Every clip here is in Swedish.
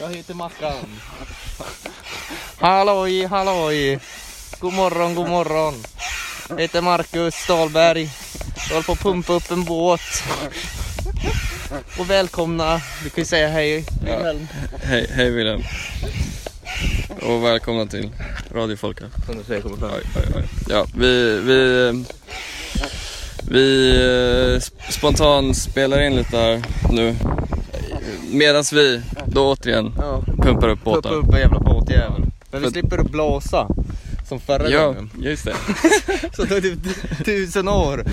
Jag heter Mackan. Halloj, halloj! God morgon, god morgon! Jag heter Marcus Dahlberg. Jag håller på att pumpa upp en båt. Och välkomna, du kan ju säga hej Wilhelm. Hej, hej Wilhelm. Och välkomna till Radio Folka. Som du säger kommer fram. Oj, oj, oj. Ja, vi, vi, eh, vi eh, sp- spontant spelar in lite här nu. Medan vi då återigen Ja, pumpar pumpa upp båtar. upp en jävla båtjävel. Men vi För- slipper att blåsa. Som förra Ja, gången. just det. Så det är typ tusen år.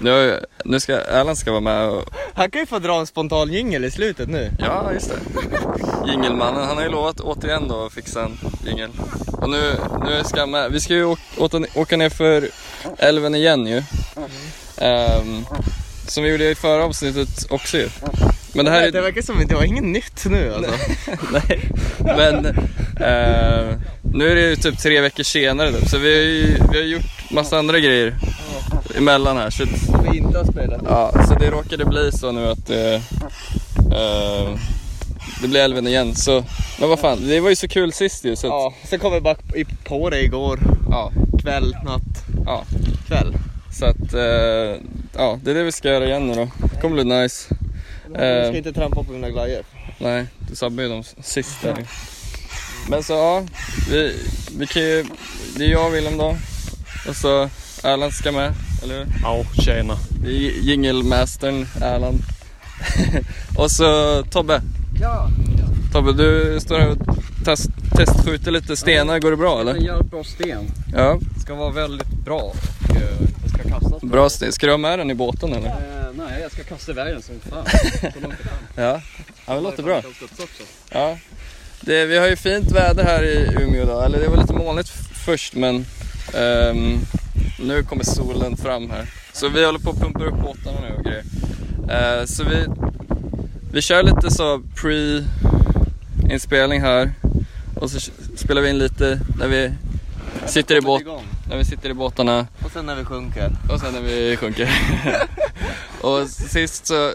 Nu, har jag- nu ska Erland ska vara med och... Han kan ju få dra en spontan jingel i slutet nu. Ja, just det. Jingelmannen, han har ju lovat återigen då att fixa en jingel. Och nu, nu ska han med. Vi ska ju åka, åta, åka ner för älven igen ju. Ehm, som vi gjorde i förra avsnittet också ju. Men det här Det är... verkar som att det var inget nytt nu alltså. Nej. Men ehm, nu är det ju typ tre veckor senare typ. Så vi har ju vi har gjort massa andra grejer emellan här. Så att Vi inte har spelat. Ja, så det råkade bli så nu att eh, eh, det blir älven igen. Så, men vad fan, det var ju så kul sist ju. Så att, ja. Ja, sen kom vi bara i- på det igår. Ja, Kväll, natt, kväll. så att, eh, ja, det är det vi ska göra igen nu då. Det kommer bli nice. Jag Eh, ska inte trampa på mina glajjor. nej, du sabbade ju dem sist där ju. Men så ja, vi, vi kan ju, det är jag och Willem då. Och så Erland ska med, eller hur? Ja, tjena. Det är jingelmästern Erland. och så Tobbe. Ja, Tobbe, du står här och test, testskjuter lite stenar. Går det bra eller? en jävligt bra sten. Ja, Ska vara väldigt bra och eh, det ska kastas. bra sten. Ska du ha med den i båten eller? Eh, nej, jag ska kasta iväg den som fan. Så långt fram. Ja, ja det låter bra. Jag ska också. Ja. Det, vi har ju fint väder här i Umeå idag. Eller det var lite molnigt f- först men ehm, nu kommer solen fram här. Så vi håller på att pumpa upp båtarna nu och grejer. Eh, så vi, vi kör lite så pre-inspelning här. Och så spelar vi in lite när vi sitter i, båt, när vi sitter i båtarna. Och sen när vi sjunker. Och sen när vi sjunker. och sist så,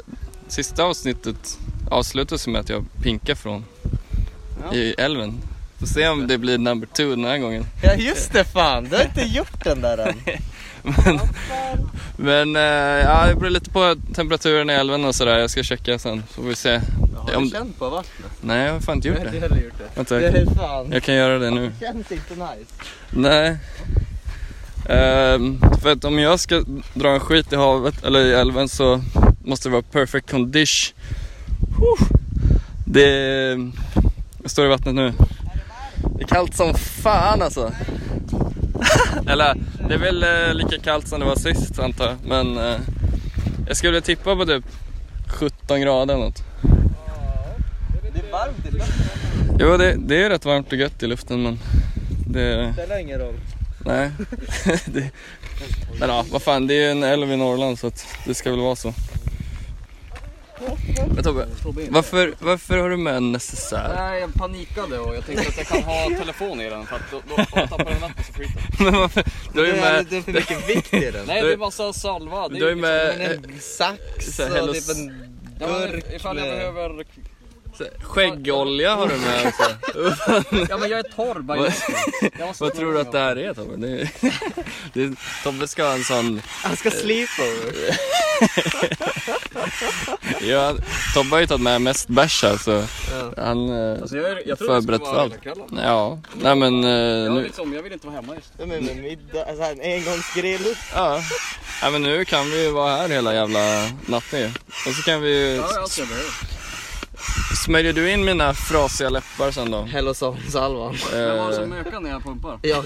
sista avsnittet avslutas med att jag pinkar från Ja. i älven. Får se om det blir number two den här gången. Ja just det fan, du har inte gjort den där än. Men eh, ja, det beror lite på temperaturen i älven och sådär. Jag ska checka sen. Får vi se. Har du Om- känt på vattnet? Nej, jag har fan inte gjort det. heller gjort det. Vänta, Det jag, är kan, fan, jag kan göra det nu. det känns inte nice. Nej. Ehm, för att om jag ska dra en skit i havet eller i älven så måste det vara perfect condition. Huh. Det... Jag står i vattnet nu. Det är kallt som fan alltså. eller det är väl eh, lika kallt som det var sist antar jag. Men eh, jag skulle tippa på typ 17 grader eller något. Det är varmt i luften. Jo det, det är ju rätt varmt och gött i luften men det... Det spelar ingen roll. Nej. det... Men ja, vad fan, det är ju en älv i Norrland så att det ska väl vara så. Men Tobbe, varför, varför har du med en necessär? Nej, jag panikade och jag tänkte att jag kan ha telefon i den för att då, då om jag tappar den vatten så flyter den. Men varför, du har Det ju är, med, det är för mycket vikt i den. Nej, det är massa salva. Det du har ju med Men eh, en sax så här, och hellos- typ en liksom- Ja, men burk ifall jag med... behöver... så här, skäggolja har du med också. Ja men jag är torr by Vad- nature. Jag måste Vad tror du att det här är Tobbe? Det är, det är, Tobbe ska ha en sån, Han ska sleepover. ja, Tobbe har ju tagit med mest bärs här så Ja. han eh, Alltså jag, är- jag tror förberett det för skulle vara hela allt. kvällen. Ja, nej men eh, Jag, nu, liksom, jag vill inte vara hemma just nu. Ja, men med middag, alltså en engångsgrill. Ja. ja, men nu kan vi ju vara här hela jävla natten ju. Och så kan vi ju... Ja, allt jag behöver. Smörjer du in mina frasiga läppar sen då? Hellosonsalvan. Men vad är det Eh, som ökar när jag pumpar? Jag.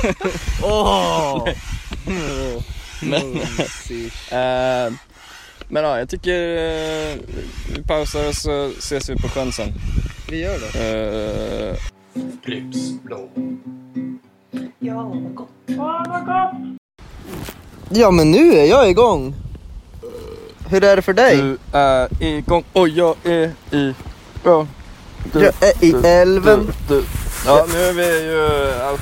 Åh! Mm. men, eh, men ja, jag tycker eh, vi pausar och så ses vi på sjön sen. Vi gör det. Eh, Ja men nu är jag igång. Hur är det för dig? du är igång och jag är i... Ja, du, jag är i du- älven. du, du. ja nu är vi ju out,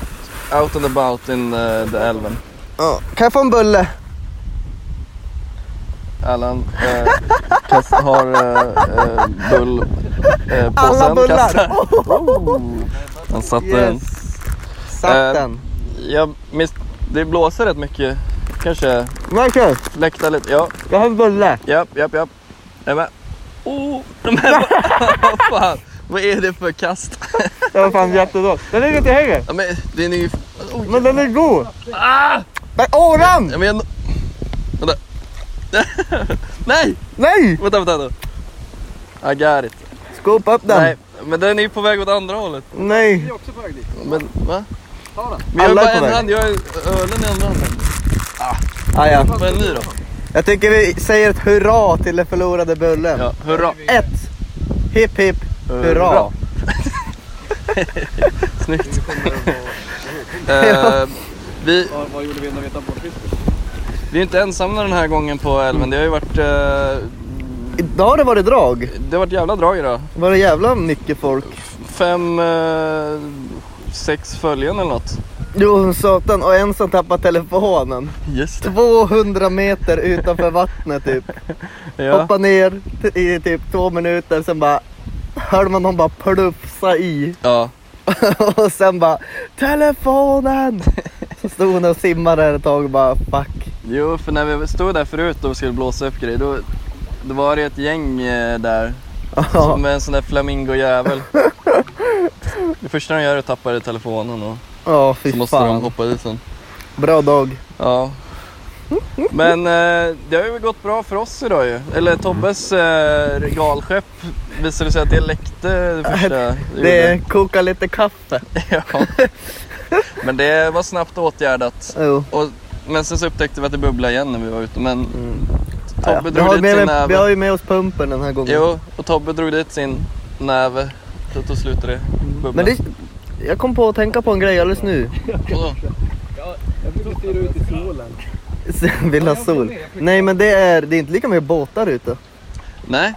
out and about in eh, the älven. Ja. Kan jag få en bulle? Allan eh, kast, har eh, eh, bull Eh, Alla påsen bullar! kastar- Oh, Han satte den. yes. Satt Eh, den. Jag miss... Det blåser rätt mycket. Kanske Marcus, fläktar lite. Ja, jag har en bulle. japp, japp, japp. Jag är med. Oh, de här... Vad fan? Vad är det för kast? Den var fan jättedålig. Den ligger till höger, Ja, men den är ju... Oh, men den är god. Ah! Men åran! ja, men jag... Vänta. Nej! Nej! Vänta, vänta. vänta. I got it. Skopa upp den. Nej, men den är ju på väg åt andra hållet. Nej. är också på väg dit. Men va? Ta den. Men jag har Alla är bara på en väg. hand, jag har ölen i andra handen. Ah, ja. Vad är en ny då? Jag tycker vi säger ett hurra till den förlorade bullen. Ja, hurra. Ett. Hipp hipp hurra. Hurra. Snyggt. Eh, vi, Vad, vad gjorde vi när vi tappade bort fisken? vi är inte ensamma den här gången på Mm. älven. Det har ju varit, eh, Idag har det varit drag. det har varit jävla drag idag. Det var det jävla mycket folk. Fem, eh, sex följen eller något. Jo, satan. Och en som tappade telefonen. Just 200 meter utanför vattnet typ. Ja. Hoppa ner t- i typ två minuter, sen bara hörde man någon bara plufsa i. ja. och sen bara telefonen! Så stod hon och simmade där ett tag och bara fuck. Jo, för när vi stod där förut och skulle blåsa upp grejer, då, då var det ett gäng eh, där. Som en sån där flamingojävel. Det första de gör är att tappa i telefonen och Ja, fy så måste de fan. hoppa i sen. Bra dag. Ja. Men eh, det har ju gått bra för oss idag ju. Eller Tobbes eh, regalskepp visade det sig att det läckte det första jag Det kokar lite kaffe. gjorde. ja. Men det var snabbt åtgärdat. Jo. Och, men sen så upptäckte vi att det bubblade igen när vi var ute. Men Mm. Ja, ja. Tobbe Vi, drog har dit sin med, vi har näve. ju med oss pumpen den här gången. Jo, och Tobbe drog dit sin näve. Så då slutade det bubbla. Mm. Men det, jag kom på att tänka på en grej alldeles nu. Vadå? Jag fick styra ut i solen. Vill ha sol. Nej men det är, det är inte lika mycket båtar ute. Nej,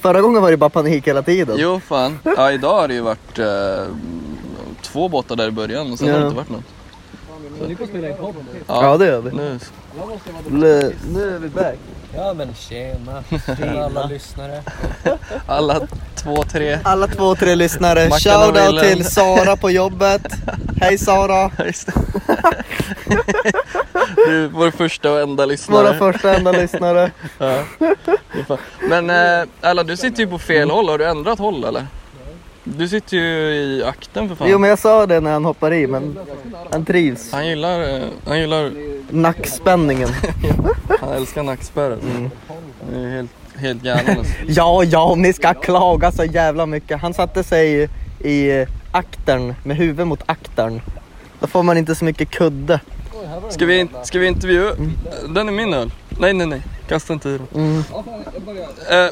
Förra gången var det bara panik hela tiden. jo fan. Ja, idag har det ju varit eh, två båtar där i början och sen har Ja. det inte varit något. Ni får spela in podden. Ja det gör vi. Nu Nu, nu är vi back. Ja men tjena, tjena alla lyssnare. Alla två, tre. Alla två, tre lyssnare. Mackan och Shoutout Wilhelm. till Sara på jobbet. Hej Sara! Ja, just det. du är vår första och enda lyssnare. Våra första enda lyssnare. Ja. Det är fan. Men eh, alla, du sitter ju på fel håll. Har du ändrat håll eller? Du sitter ju i akten för fan. Jo men jag sa det när han hoppade i men han trivs. Han gillar, eh, han gillar, Nackspänningen. han älskar nackspärr. alltså. Mm. Han är helt, helt galen alltså. Ja, ja om ni ska klaga så jävla mycket. Han satte sig i aktern med huvudet mot aktern. Då får man inte så mycket kudde. Ska vi, in- ska vi intervjua? Mm. Den är min öl. Nej, nej, nej. Kasta inte i den. Eh,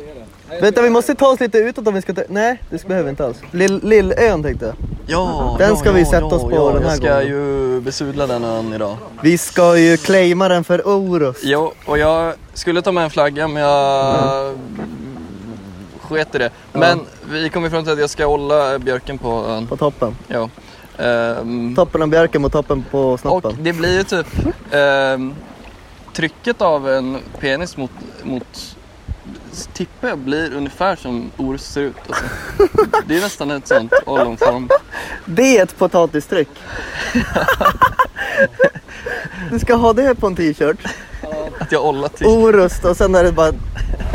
Vänta vi måste ta oss lite utåt om vi ska ta... Nej det behöver vi inte alls. Lill- Lillön tänkte jag. ja, Den ja, ska vi ja, sätta ja, oss på ja, den här Jag ska gången. ju besudla den ön idag. Vi ska ju claima den för Orust. Jo, och jag skulle ta med en flagga men jag Mm. sket i det. Men vi kom ifrån till att jag ska hålla björken på ön. På toppen. Ja. Ehm, Toppen av björken mot toppen på och snoppen. det blir ju typ ehm, trycket av en penis mot, mot tippe blir ungefär som Orust ser ut. Alltså. Det är nästan ett sånt ollonform. Det är ett potatistryck. du ska ha det på en t-shirt. Att jag ollar till Orust och sen är det bara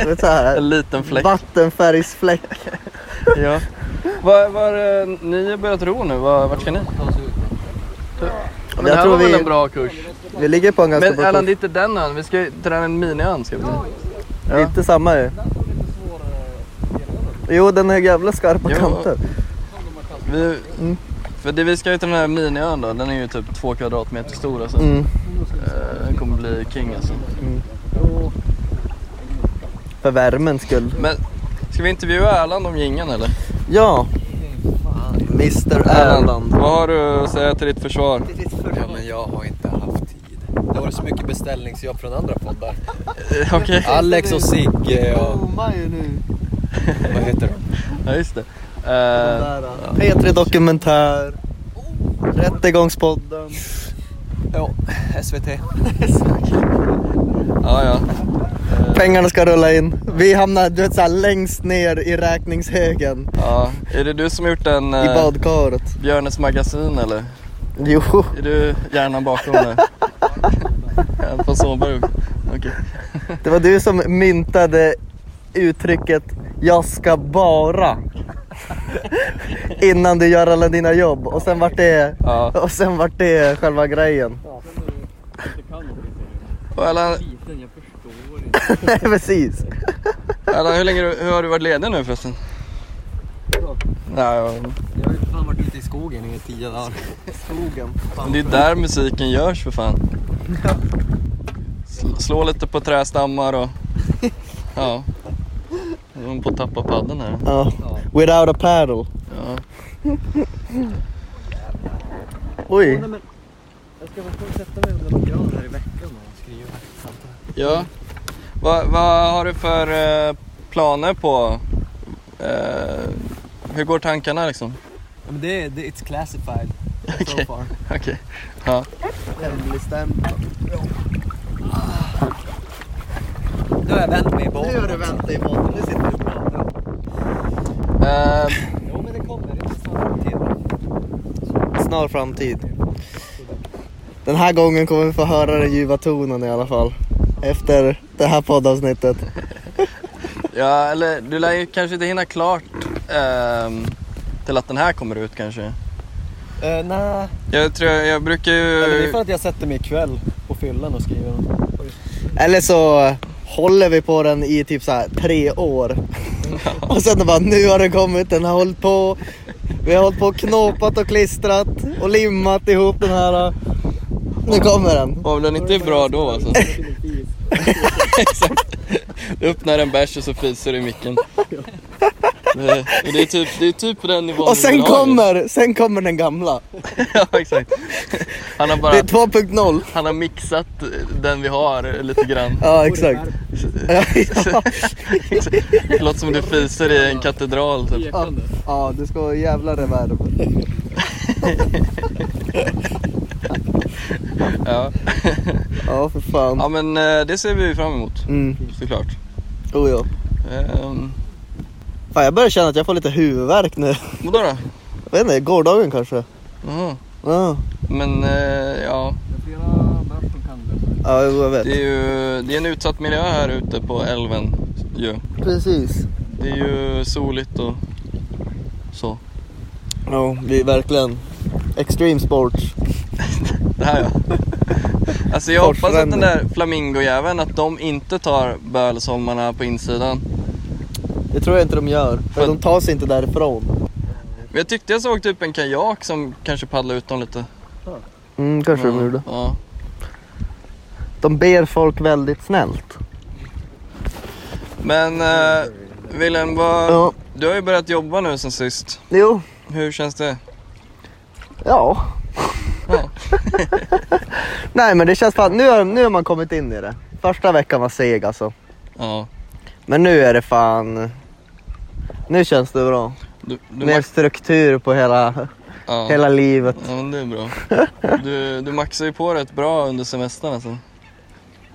vet, så här, en liten fläck. vattenfärgsfläck. Ja. Var, var, eh, ni har börjat ro nu, var, vart ska ni? Men det Jag här tror var väl vi- en bra kurs? Vi ligger på en ganska Men bra Allan, det kurs. är inte den ön. Vi ska ju till den miniön ska vi till. Det är inte samma ju. Jo, den är jävla skarpa Jo. kanter. Vi, Mm. För det, vi ska ju till den här miniön då. Den är ju typ två kvadratmeter stor alltså. Mm. Eh, Den kommer bli king alltså. För värmens skull. Men ska vi intervjua Erland om gingen eller? Ja. Mr Erland. Vad har du att säga till ditt försvar? Ja men jag har inte haft tid. Det har varit så mycket beställningsjobb från andra poddar. Eh, Okej, Alex och Sigge och Bomma ju nu. vad heter de? ja just det. Eh, P3 Dokumentär. Rättegångspodden. Ja, SVT. ja, ja. Pengarna ska rulla in. Vi hamnar du vet, så här, längst ner i räkningshögen Ja, är det du som har gjort en i eh, badkaret. Björnes magasin eller? Jo, Är du hjärnan bakom det? Ja, På Sonnberg? Okej. det var du som myntade uttrycket jag ska bara. Innan du gör alla dina jobb och sen vart det, Ja. och sen vart det själva grejen. Och Erland, Nej precis. Erland, hur länge du- hur har du varit ledig nu förresten? Nej, jag- Jag har ju fan varit ute i skogen i tio dagar. Skogen. Men det är där musiken görs för fan. Sl- Slå lite på trästammar och... Ja. Nu är hon på att tappa padden här. Ja. Without a paddle. Ja. Oj. Jag ska bara sätta mig under några grader här i veckan och skriva. ja. Vad vad har du för eh, planer på... Eh, hur går tankarna liksom? Ja, men det, är- det, it's classified so Okej. far. Okej. Ja. Hemligstämplad. Nu har jag vänt mig i båten. Nu har du vänt dig i båten, nu sitter du bra. Eh, Jo men det kommer, det är snart till. Snar framtid. Den här gången kommer vi få höra den ljuva tonen i alla fall. Efter det här poddavsnittet. Eh, ja, eller du lär ju kanske inte hinna klart ehm, till att den här kommer ut kanske. Uh, Nej, Jag tror jag, jag brukar ju... det är för att jag sätter mig ikväll på fyllan och skriver. Eller så håller vi på den i typ så här tre år. Och sen bara nu har den kommit, den har hållit på. Vi har hållit på och knåpat och klistrat och limmat ihop den här. Nu kommer den. Om den inte är bra då alltså. Exakt. Du öppnar en bärs och så fiser du i micken. Det, och det, är typ, det är typ på den nivån Och vi sen vill ha det. kommer, sen kommer den gamla. ja, exakt. Han har, bara, Det är 2.0. han har mixat den vi har lite grann. Ja exakt. Ja, ja. Det låter som du fiser i en katedral typ. Ja, ja du ska ha jävla reverb. Ja. Ja för fan. ja men eh, det ser vi fram emot Mm. såklart. Oh, ja. Ehm, Fan jag börjar känna att jag får lite huvudvärk nu. Vadå då? Jag vet inte, gårdagen kanske. Jaha. Ja, Men eh, ja, Det är flera bärs som kan det. ja jo, jag det vet. är ju det är en utsatt miljö här ute på älven ju. Precis. Det är ju soligt och så. Ja, det är verkligen extreme sports. Det här ja. Alltså jag hoppas att den där flamingojäveln, att de inte tar bölsholmarna på insidan. Det tror jag inte de gör. För de tar sig inte därifrån. Men jag tyckte jag såg typ en kajak som kanske paddlade ut dem lite. Mm, kanske Ja, de gjorde. Ja. De ber folk väldigt snällt. Men eh, Wilhelm, vad, Ja. du har ju börjat jobba nu sen sist. Jo, Hur känns det? ja. Ja. Nej men det känns fan, nu har, nu har man kommit in i det. Första veckan var seg alltså. ja. Men nu är det fan... Nu känns det bra. Du, du Mer max- struktur på hela, ja. hela livet. ja, men det är bra. Du, du maxar ju på rätt bra under semestern alltså.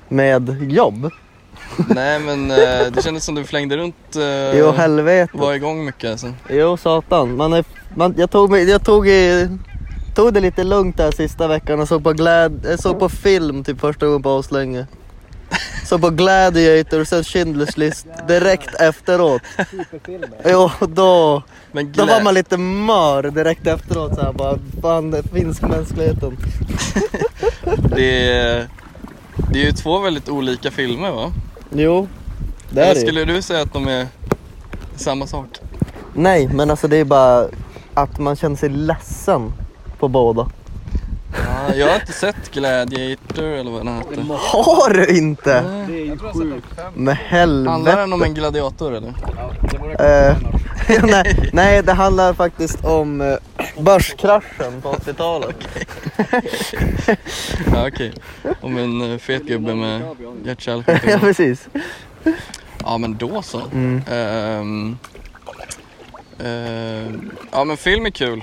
Med jobb? Nej men eh, det kändes som du flängde runt. eh, Jo helvete. var igång mycket alltså. Jo satan. Man är, man, jag tog, mig- jag tog, i, tog det lite lugnt där sista veckan och såg på, gläd, jag såg på film typ första gången på aslänge. Såg på Gladiator och sen Schindler's list direkt efteråt. Jo, då, Men då glä- var man lite mör direkt efteråt. Så här, bara, fan, det finns mänskligheten. Det är, det är ju två väldigt olika filmer va? Jo, det är Eller det. ju. skulle du säga att de är samma sak? Nej, men alltså det är bara att man känner sig ledsen på båda. Ja, jag har inte sett Gladiator eller vad den heter. Har du inte? Nej. Jag tror jag har sett en fem. Men helvete. Handlar den om en gladiator eller? Ja, det vore Eh, nej, nej, det handlar faktiskt om eh, börskraschen på 80-talet. Ja okej. Om en eh, fet gubbe med ja, hjärt-kärlsjukdom. precis. Ja men då så. Mm. Ehm, ehm, ja men film är kul.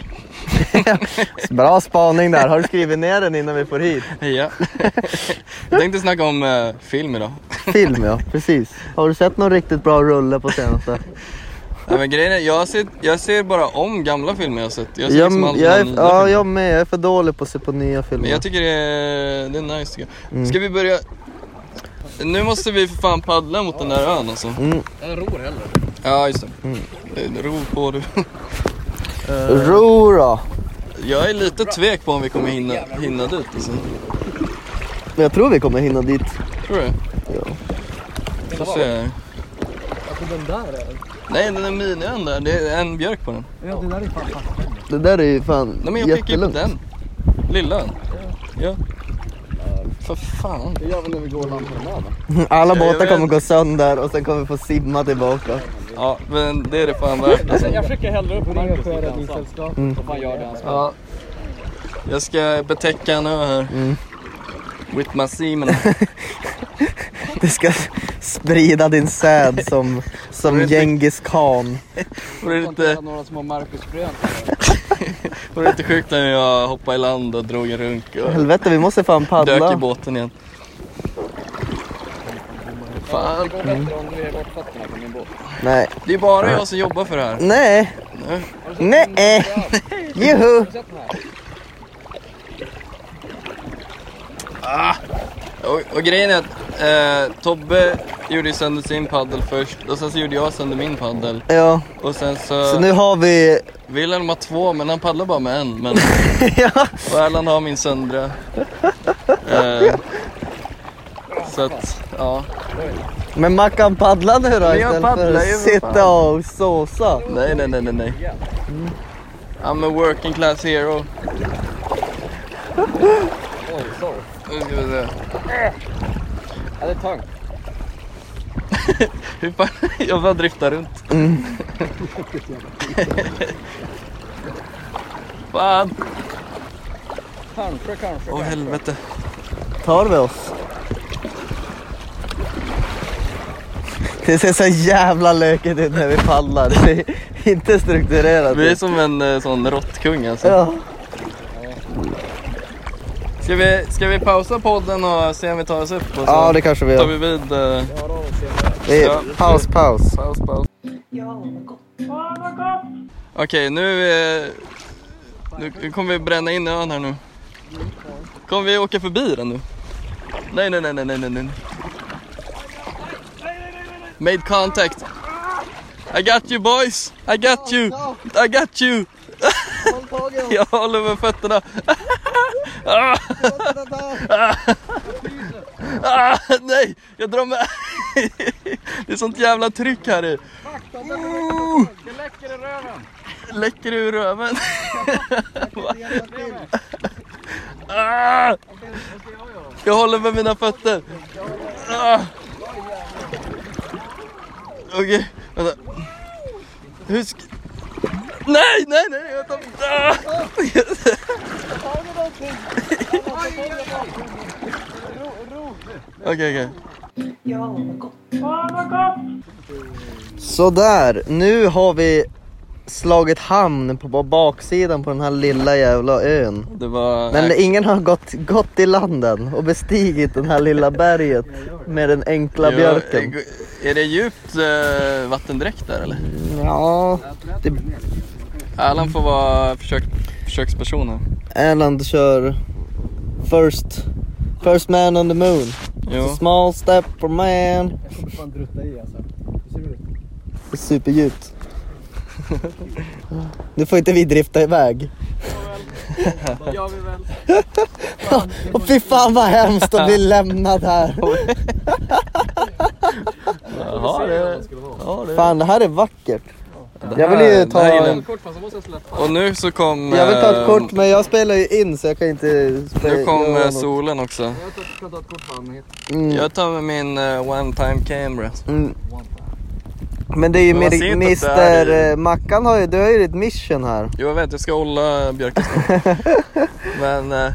Bra spaning där. Har du skrivit ner den innan vi får hit? Ja. Jag tänkte snacka om eh, film idag. Film ja, precis. Har du sett någon riktigt bra rulle på senaste? Nej, men grejen är, jag ser, jag ser bara om gamla filmer jag sett. Jag ser Jag, liksom aldrig jag, är, någon- ja, jag med. Jag är för dålig på att se på nya filmer. Men jag tycker det är, det är nice tycker jag. Ska vi börja? Nu måste vi för fan paddla mot den där ön alltså. Jag ror heller. Ja, just det. Mm. Ro på du. Ro då! Jag är lite tvek på om vi kommer hinna, hinna dit alltså. Men jag tror vi kommer hinna dit. Tror du? Ja. Får se här. Den där är... Nej, den är miniön där. Det är en björk på den. Ja, det där är fan Det där är ju fan Nej, men jag pekar på jättelugnt. den. Lilla ön. Ja. För fan. Det gör vi när vi går landpromenaden. Alla Ja, jag båtar vet. kommer gå sönder och sen kommer vi få simma tillbaka. Ja, men det är det fan värt alltså. Jag försöker hellre upp Marcus lite ensam. Räddningssällskap. Så fan gör det han ska. Ja. Jag ska betäcka en ö här. Mm. With my semen. Du ska sprida din säd som, som Genghis khan. Var det Inte inte, några små Marcus-frön. var det inte sjukt när jag hoppade i land och drog en runk och Helvete, vi måste fan dök i paddla. båten igen? Fan, Det går bättre om du ger bort fötterna på min båt. Nej. det är bara jag som jobbar för det här. Nej. Nej. Juhu. Och, och grejen är att eh, Tobbe gjorde ju sönder sin paddel först och sen så gjorde jag sönder min paddel. Ja, Och sen så, så nu har vi... Wilhelm har två men han paddlar bara med en. Men, ja. och Erland har min söndra. Eh, så att, ja. Men Mackan paddla nu då jag istället för paddlar ju att för sitta och såsa. Nej, nej, nej, nej, nej. I'm a working class hero. Oj, sorry. Nu ska vi se. Ja, det är tungt. Hur fan, jag bara driftar runt. fan. Kanske, kanske. Åh helvete. Tar vi oss? Det ser så jävla lökigt ut när vi paddlar. Det är inte strukturerat. Vi är som en eh, sån råttkung alltså. Ja. Ska vi, ska vi pausa podden och se om vi tar oss upp? Och så ja, det kanske vi tar gör. vi vid. eh, Ja. Vi, paus, paus. Paus, paus. Okej, nu, eh, nu kommer vi bränna in ön här nu. Kommer vi åka förbi den nu? Nej, nej, nej, nej, nej, nej, nej. Made contact. I got you boys! I got you! I got you! Jag håller med fötterna. Ah. Ah. Ah, Nej, jag drar med. Det är sånt jävla tryck här i. Ooh. Läcker ur röven. Ah. Jag håller med mina fötter. Ah. Okej, vänta. Hur ska... Nej, nej, nej! Jag tar... Ah! Okej, okej. Sådär, nu har vi slagit hamn på baksidan på den här lilla jävla ön. Det var... Men ingen har gått, gått i landen och bestigit den här lilla berget med den enkla Ja, björken. Är det djupt eh, vattendräkt där eller? Ja, det, Erland får vara försök, försöksperson här. Erland kör first, first man on the moon. Jo. Small step for man. Jag kommer fan drutta i alltså. Hur ser det ut? Det är Superdjupt. Nu får inte vi drifta iväg. Gör vi väl. Och fy fan vad hemskt att bli lämnad här. Jaha, det... Ja, det... Fan det här är vackert. Jag vill här- ju det här ta gillar en jag. Kort fast så måste jag släppa. Och nu så kom... Jag vill ta eh, ett kort men jag spelar ju in så jag kan inte spela. Nu kom göra eh, något. solen också. Jag tar- kan ta ett kort på honom. Mm, Jag tar med min eh, one time camera. mm. Men det är ju Men man ser mer- inte att det här är- Mr eh, Mackan har ju, du har ju ditt mission här. Jo, jag vet, jag ska hålla björken Men... Eh...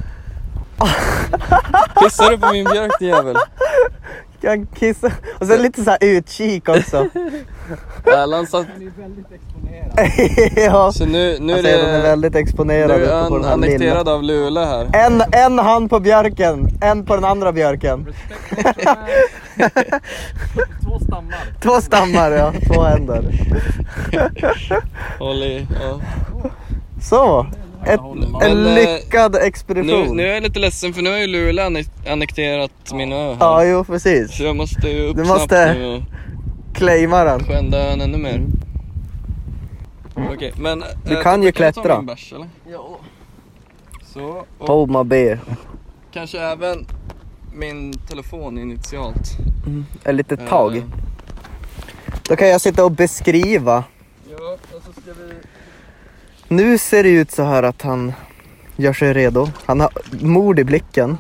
Kissar du på min björk din jävel? Jag kissar. Och sen lite så här utkik också. Erland satt... Den är väldigt exponerad. ja. Så nu, nu är Alltså, de är det... väldigt Nu exponerade är ute på den här ön lilla. annekterad av Luleå här. En, en hand på björken, en på den andra björken. Två stammar. Två stammar ja, två händer. Håll i. Ja. Så, ett, en lyckad eh, Nu, expedition. nu är jag lite ledsen för nu har ju Luleå annek- annekterat min ö här. Ja, jo precis. Så jag måste ju upp Du måste- snabbt nu och Claima den. skända ön ännu mer. Okej, men... Du eh, kan ju jag ta klättra. min bärs, eller? Ja. Så, och Hold my beer. kanske även min telefon initialt. Ett litet tag. Eh, Då kan jag sitta och beskriva. ja, och så ska vi... Nu ser det ut så här att han gör sig redo. Han har mod i blicken.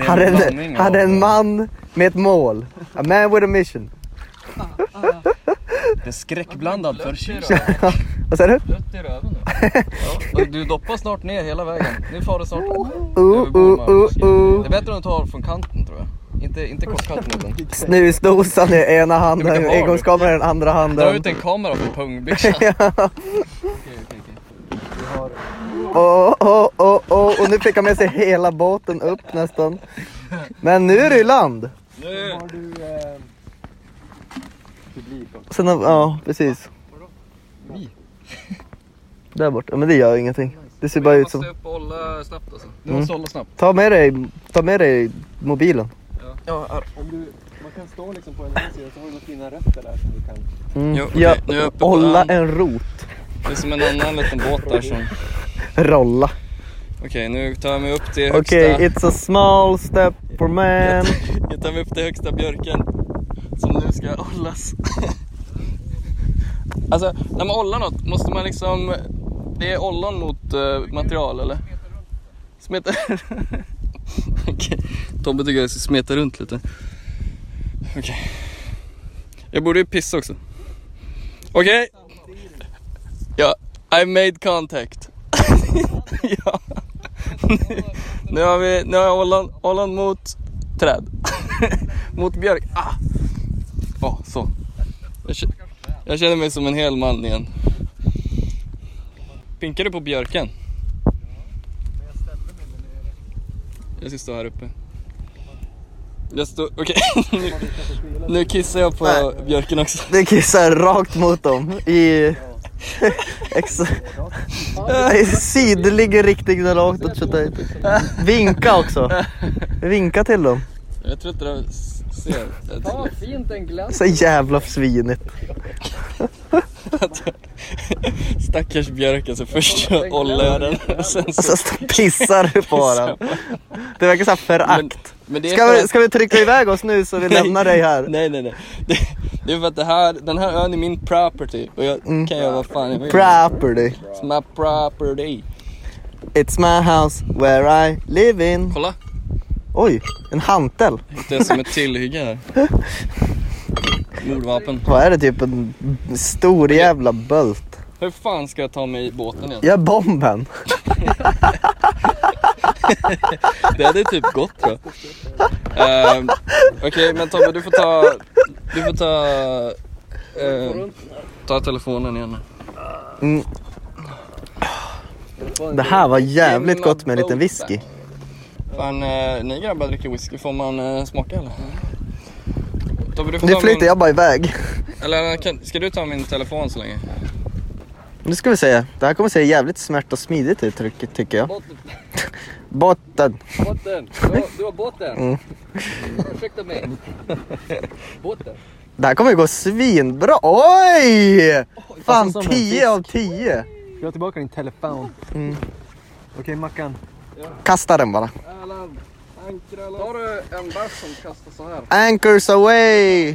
Han är, en, han är en man med ett mål. A man with a mission. Det är skräckblandad för Vad säger du? Lutt i röven nu. Ja, och du doppar snart ner hela vägen. Nu far det snart. Oh, oh, oh, Det oh. är bättre om du tar från kanten tror jag. Inte, inte korskanten utan. Snusdosan i ena handen, vilken har du? engångskameran i den andra Dra ut handen. en kamera från pungbyxan. Oh, oh, oh, oh. Och nu fick han med sig hela båten upp nästan. Men nu är det i land. Nu! Har du eh, publik också? Sen, har- ja, precis. Vi? Där borta. Ja, Men det gör ingenting. Det ser bara ut som... Jag måste upp och hålla snabbt alltså. Du Mm. måste hålla snabbt. Ta med dig, ta med dig mobilen. Om du, man kan stå liksom på en annan sida så har du några fina rötter där som du kan... Mm. Jo, okej, Ja, nu är jag uppe på Hålla land. en rot. Det är som en annan liten båt där som... Rolla. Okej, nu tar jag mig upp till högsta... Okej, it's a small step for man. Jag tar mig upp till högsta björken som nu ska ollas. alltså, när man ollar något, måste man liksom... Det är ollon mot eh, material, eller? Smeta Okej. Tobbe tycker jag ska smeta runt lite. Okej. Jag borde ju pissa också. Okej. Ja, I made contact. ja. nu, nu har vi, nu har jag ollon, ollon mot träd. Mot björk. Ah. Ja, så. Jag, kä- jag känner mig som en hel man igen. Pinkar du på björken? Jag ska stå här uppe. Jag står... Okej. nu, nu kissar jag på Nej. björken också. Det kissar rakt mot dem i... Ex... i sidlig riktning där långt åt köttet. Vinka också. Vinka till dem. Jag tror inte det s- ser. Jag tror- Ah, fint en glans. Så jävla svinigt. Stackars björk alltså. Först så ollar jag den och sen så... Alltså så pissar du på den. Det verkar såhär Men, förakt. men det är Ska för vi, att- ska vi trycka iväg oss nu så vi lämnar dig här? Nej, nej, nej. Det, det är för att det här, den här ön är min property och jag Mm. kan göra vad fan jag vill. Property. It's my property. It's my house where I live in. Kolla, Oj, en hantel. det är som ett tillhygge här. Mordvapen. Vad är det? Typ en stor jävla bölt. Hur fan ska jag ta mig i båten igen? Ja, bomben. Det hade typ gått tror jag. Ehm, Okej, men Tobbe du får ta... Du får ta... ehm, ta telefonen igen. Det här var jävligt gott med en liten whisky. Fan, eh, ni grabbar dricker whisky, får man eh, smaka eller? Mm. Tobbe du får Nu ta flyter min... jag bara iväg. Eller kan, ska du ta min telefon så länge? Nu ska vi se. Det här kommer se jävligt smärt och smidigt ut tycker- tycker jag. Botten. Båten! Du har, du har båten! Mm. Ursäkta mig. Båten? Det här kommer ju gå svinbra. Oj! Fan som en 10 av 10. Ska jag ha tillbaka din telefon? Mm. Okej Mackan. Kasta den bara. Erland. Ankra Tar du en bärs som kastas så här? Anchors away!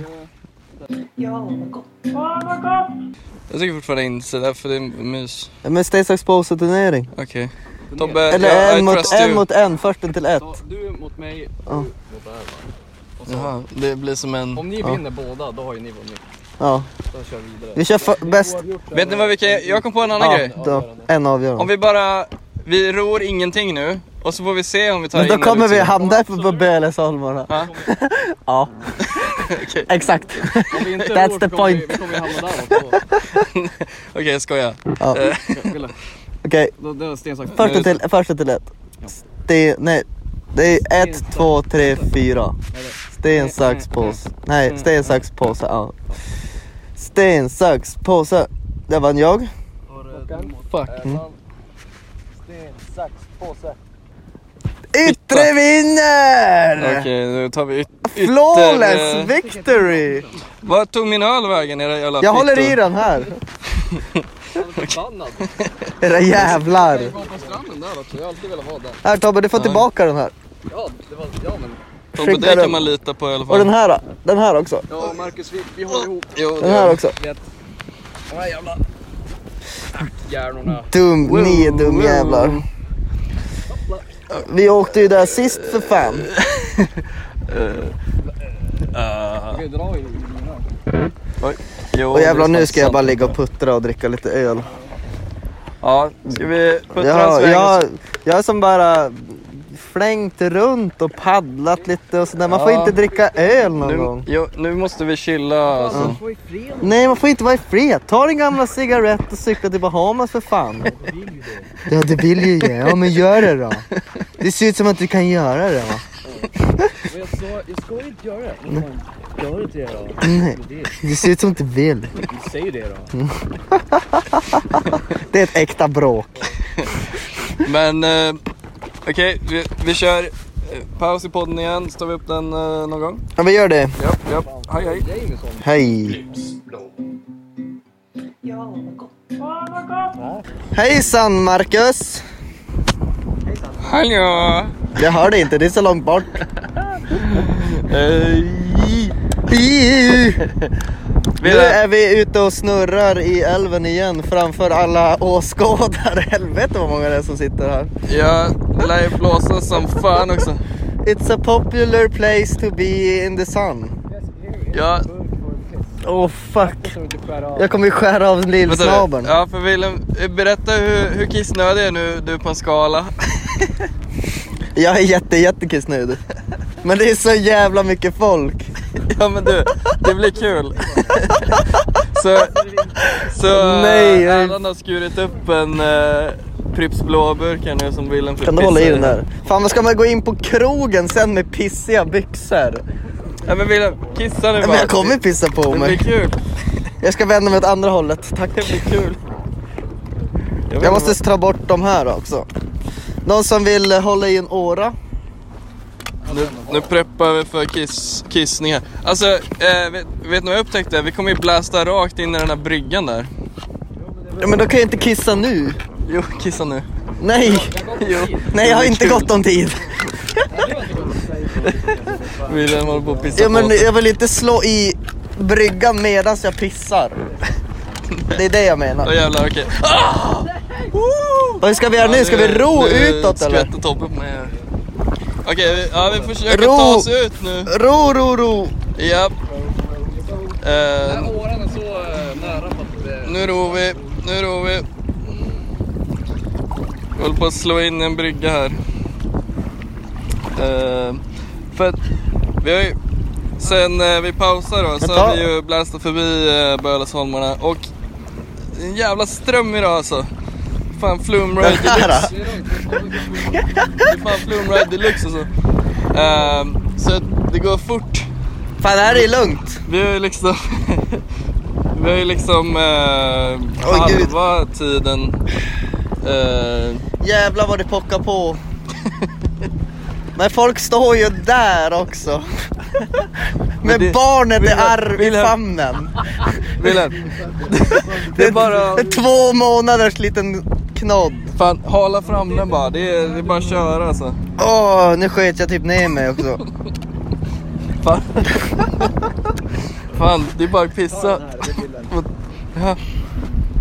Jag tycker fortfarande insida för det är mys. Men stay exposed turnering. Okej. Tobbe, Eller jag, I en, mot, trust en you. mot en, försten till ett. Ta, du mot mig, Ja. du mot Erland. Och så, Jaha, det blir som en... Om ni Ja. vinner båda, då har ju ni vunnit. Ja. Då kör vi vidare. Vi kör för, bäst. Vet ni vad vi kan... Jag kom på en annan Ja, grej. då, en Om avgörande. vi bara... Vi ror ingenting nu och så får vi se om vi tar Men då in liksom. eller kommer vi ut. hamna uppe på Bölesholmarna. Ja. Ja. Exakt. Om vi inte That's rår the kommer vi- point. Vi kommer ju hamna där också. Okej, jag skojar. Ja. Eh. Wille, Okej, då- Det är sten, sax, första till, första till ett. Det, nej, det är ett, två, tre, fyra. Sten, sax, påse. Nej, Mm. sten, sax, påse. Ja. Sten, sax, påse. Där vann jag. eh, Fuck. Sten, sax, påse. Yttre Okej, vinner! nu tar vi yt- Flawless ytter... victory! Vad tog min öl vägen era jävla Jag håller fittor? i den här. Han är förbannad. Era jävlar. Jag var på stranden där också, jag har alltid velat vara där. Här Tobbe, du får tillbaka den här. Ja, det var, ja men. Tobbe, Skicka dig den. kan man lita på i alla fall. Och den här då? Den här också. Ja och Marcus, vi, vi håller ihop. Jo, det Den här också. Vet. De här jävla hjärnorna. Dum, ni är dum jävlar. Vi åkte ju där sist för fan. Jag kan ju dra i mina. jo, Och jävlar det är nu sant, ska jag sant. bara ligga och puttra och dricka lite öl. Ja, ska vi puttra Jag, oss vägen? jag, jag har som bara flängt runt och paddlat lite och sådär. Man får Ja. inte dricka öl någon Nu, gång. jo, nu måste vi chilla alltså. Var i fred. Nej man får inte vara i fred. Ta din gamla cigarett och cykla till Bahamas för fan. Ja det vill ju jag. Ja men gör det då. Det ser ut som att du kan göra det va. Men jag sa, jag ska ju inte göra det. Jag hör inte det då. Nej. Det ser ut som att du vill. Säg det då. Mm. Det är ett äkta bråk. Men eh, okej, vi, vi kör eh, paus i podden igen. Står vi upp den eh, någon gång? Ja men gör det. Ja, ja. Hej hej. Jamison. Hej. Ja, vad gott. Ja, vad gott. Hejsan Marcus. Hallå! Jag hörde inte, det är så långt bort. Nu är vi ute och snurrar i älven igen framför alla åskådare. Helvete vad många det är som sitter här. Ja, det lär ju blåsa som fan också. It's a popular place to be in the sun. Ja, Oh fuck. Jag kommer ju skära av vänta nu. lillsnabeln. Ja, för Willem, eh, berätta hur, hur kissnödig är nu du på en skala? Jag är jätte jättekissnödig. Men det är så jävla mycket folk. Ja men du, det blir kul. Så, så Nej, jag- Allan har skurit upp en eh, Pripps blåburk här nu som Willem fick Kan du hålla i pissa den där? Fan vad ska man gå in på krogen sen med pissiga byxor? Ja men Willem, kissa nu Men bara. jag kommer pissa på Det blir mig. kul. Jag ska vända mig åt andra hållet, tack. Det blir kul. vet Jag inte måste ta bort de här också. Någon som vill eh, hålla i en åra? vad- Nu, nu preppar vi för kiss, kissning här. Alltså, eh, vet, vet ni vad jag upptäckte? Vi kommer ju blasta rakt in i den här bryggan där. Ja, men då kan jag inte kissa nu. Jo, kissa nu. Nej, Jo. nej jag har inte kul. gott om tid. Willem håller på att pissa Ja, men på sig. jag vill inte slå i bryggan medan jag pissar. Det är det jag Åh menar. jävlar, okej. Och hur ska vi göra nu? Ska vi ro utåt eller? skvätter Tobbe på mig här. Okej, vi- ja, vi försöker Ro. ta oss ut nu. Ro, ro, ro. Japp. Eh, Den här åran är så eh, nära på att... eh, nu ror vi, nu ror vi. Jag håller på att slå in en brygga här. Eh, för att vi har ju, sen eh, vi pausar då, så Vänta. har vi ju blastat förbi eh, Bölasholmarna och en jävla ström idag alltså. Fan flumride Den här, deluxe. Det är fan flumride deluxe alltså. Eh, så att det går fort. Fan det här är lugnt. Vi har ju liksom... vi har ju liksom eh, Oj, gud. halva tiden... Eh, Jävlar vad det pockar på. Men folk står ju där också. Med det- barnet i Wilhelm- arv i Wilhelm- famnen. Wilhelm. det är bara... Två månaders liten knodd. Fan, hala fram den bara. Det är, det är bara att köra alltså. Åh, nu sket jag typ ner mig också. Fan. Fan, det är bara att pissa. Ja.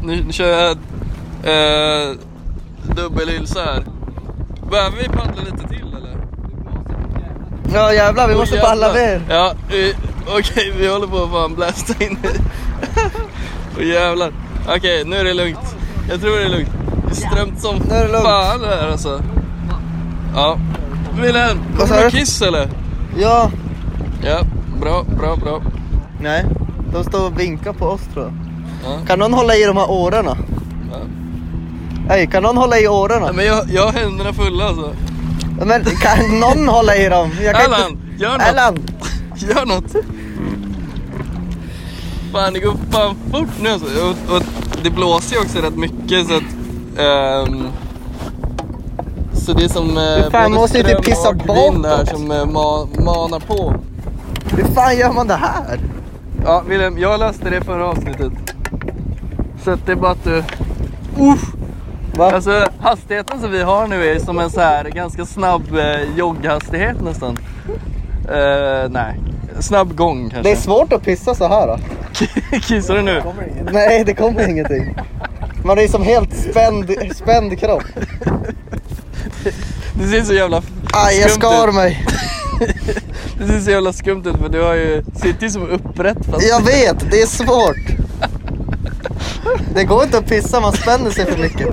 Nu, nu kör jag eh, dubbelhylsa här. Behöver vi paddla lite till eller? Ja jävlar, vi måste Åh, palla jävlar. mer. Ja, vi- okej vi håller på att fan blasta in Åh jävlar. Okej, nu är det lugnt. Jag tror det är lugnt. Det är strömt som Nu är det lugnt. fan det här alltså. Ja. Wilhelm, Vad sa kommer du du? kiss eller? Ja. Ja, bra, bra, bra. Nej, de står och vinkar på oss tror jag. Ja. Kan någon hålla i de här årorna? Ja. Nej, kan någon hålla i årorna? Nej, men jag, jag har händerna fulla alltså. Men kan någon hålla i dem? Jag kan Allan, gör något. Allan! Gör något! Fan, det går fan fort nu alltså. och, och Det blåser ju också rätt mycket så att... ehm, så det är som eh, fan, måste ju typ ström pissa och vind här bakåt. som eh, ma- manar på. Hur fan gör man det här? Ja, Wilhelm, jag löste det förra avsnittet. Så att det är bara att du... Uff! Va? Alltså hastigheten som vi har nu är som en så här ganska snabb eh, jogghastighet nästan. Eh, nej, snabb gång Det är kanske. svårt att pissa så här. Då. Kissar du nu? Nej, det kommer ingenting. Man är som helt spänd, spänd kropp. Det ser så jävla f- Aj, jag skumt skar ut. mig. Det ser så jävla skumt ut för du har ju, sitter ju som upprätt fast Jag vet, det är svårt. Det går inte att pissa, man spänner sig för mycket.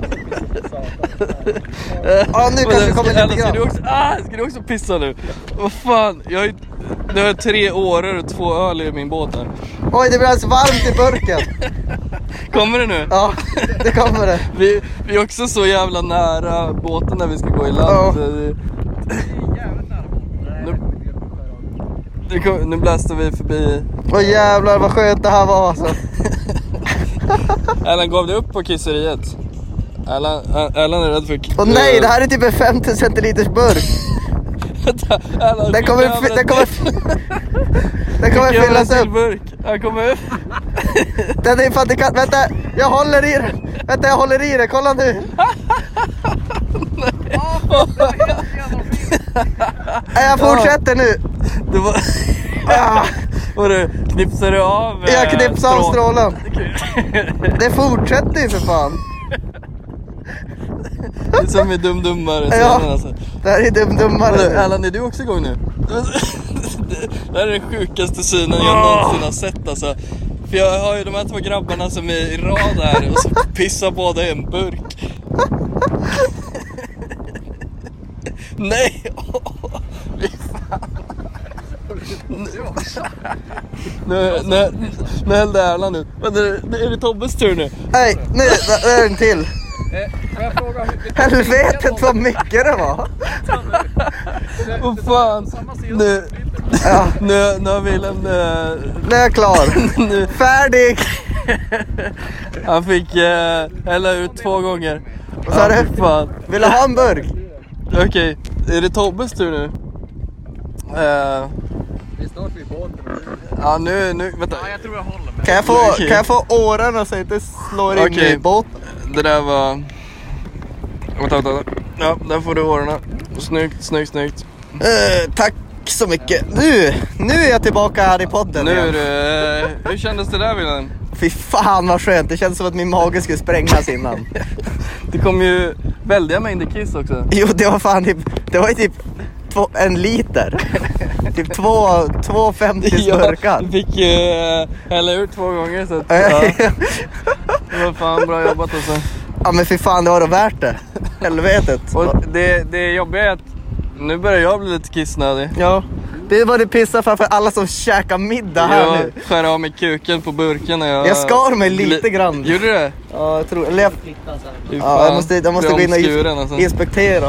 Ja, nu kanske det kommer lite Eller ska du grann. också, ah, ska du också pissa nu? Vad fan, jag har ju, nu har jag tre åror och två öl i min båt här. Oj, det blir alldeles varmt i burken. Kommer det nu? Ja, det kommer det. Vi, vi är också så jävla nära båten när vi ska gå i land. Ja. så det- Nu, nu, kom, nu bläste vi förbi... Åh jävlar vad skönt det här var alltså. Erland, gav du upp på kisseriet? Erland, Erland är rädd för... Åh nej, det här är typ en 50 centiliters burk. Vänta, Erland, Den kommer, fy- den kommer, den kommer fyllas upp. Burk. Han kommer upp. Den är fan, det kan, vänta, jag håller i den. Vänta, jag håller i den. Kolla nu. Nej, jag fortsätter nu. Det var... Ah, Och du, knipsar du av eh, Jag knipsar av strån? strålen. Det fortsätter ju för fan. Det är som i Dum Dummare. Ja. scenen, Alltså. Det här är dum-dummare. Erland, är du också igång nu? Det- Det här är den sjukaste synen jag någonsin har sett alltså. För jag har ju de här två grabbarna som är i rad här och så pissar båda i en burk. Nej! Åh, fy fan. Nu, nu, nu, nu hällde Erland ut. Vänta, det- är det Tobbes tur nu? Nej, nu där är en till. Eh, får jag fråga hur... vi tar Helvetet vad mycket det var. Vad fan! Nu, Ja, nu, nu har Wilhelm... eh, nu är jag klar. Nu, Färdig. Han fick eh, hälla ut två gånger. Vad sa Ja, du? fy fan. Vill du ha en burk? Okej, är det Tobbes tur nu? Eh, Det är snart vid båten. ja, nu, nu, vänta. Kan jag få, kan jag få årorna så jag inte slår in Okej. i botten? Det där var... Vänta, vänta, vänta. Ja, där får du årorna. Snyggt, snyggt, snyggt. Eh, tack så mycket. Nu, nu är jag tillbaka här i podden Nu, är igen. det, eh, hur kändes det där Wilhelm? Fy fan vad skönt. Det känns som att min mage skulle sprängas innan. Det kom ju väldiga mängder kiss också. Jo, det var fan typ, det var ju typ två, en liter. Typ två, två 50 du burkar. fick ju eh, hälla ut två gånger så att, ja, Ja. det var fan bra jobbat alltså. ja men fy fan, det var då värt det. Helvetet. Och det, det jobbiga är att nu börjar jag bli lite kissnödig. Ja. Det är vad det pissar framför alla som käkar middag här jag nu. skär av mig kuken på burken när jag... Jag skar mig lite Gli- grann. Gjorde du det? Ja, jag tror... Eller jag, Fy ja, jag fan, måste, jag måste blir gå in och omskuren, alltså. ins- inspektera.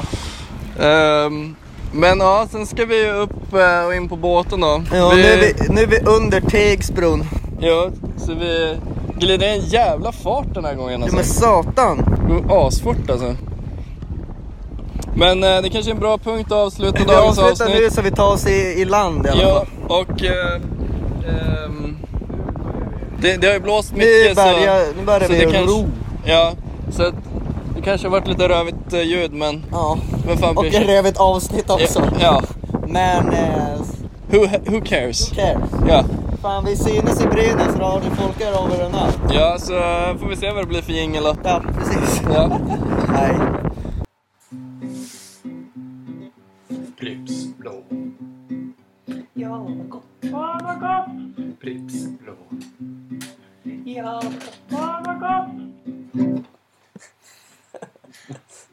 Ehm, men ja, sen ska vi ju upp eh, och in på båten då. Ja, nu, är vi, nu är vi under Tegsbron. Ja, så vi glider i en jävla fart den här gången Ja, alltså. men satan. Det går asfort alltså. Men eh, det kanske är en bra punkt att avsluta Vi dagens avslutar nu avsnitt. så vi tar oss i, i land i alla fall. Ja, och... eh, ehm, det, det har ju blåst Nu mycket börjar, nu börjar så vi det kanske- ro. Ja, så att det kanske har varit lite rövigt eh, ljud men Ja. vem fan Och bryr sig? ett rövigt avsnitt också. Ja, Men, eh, who, who cares? who cares? Ja, Fan, vi syns i Brynäs radio. Folk är över den här. ja så eh, får vi se vad det blir för jingel då. Ja, precis. Ja. Nej. Pripps blå, Ja, vad Mm. gott. Ja, vad gott. Pripps blå, Ja, vad gott.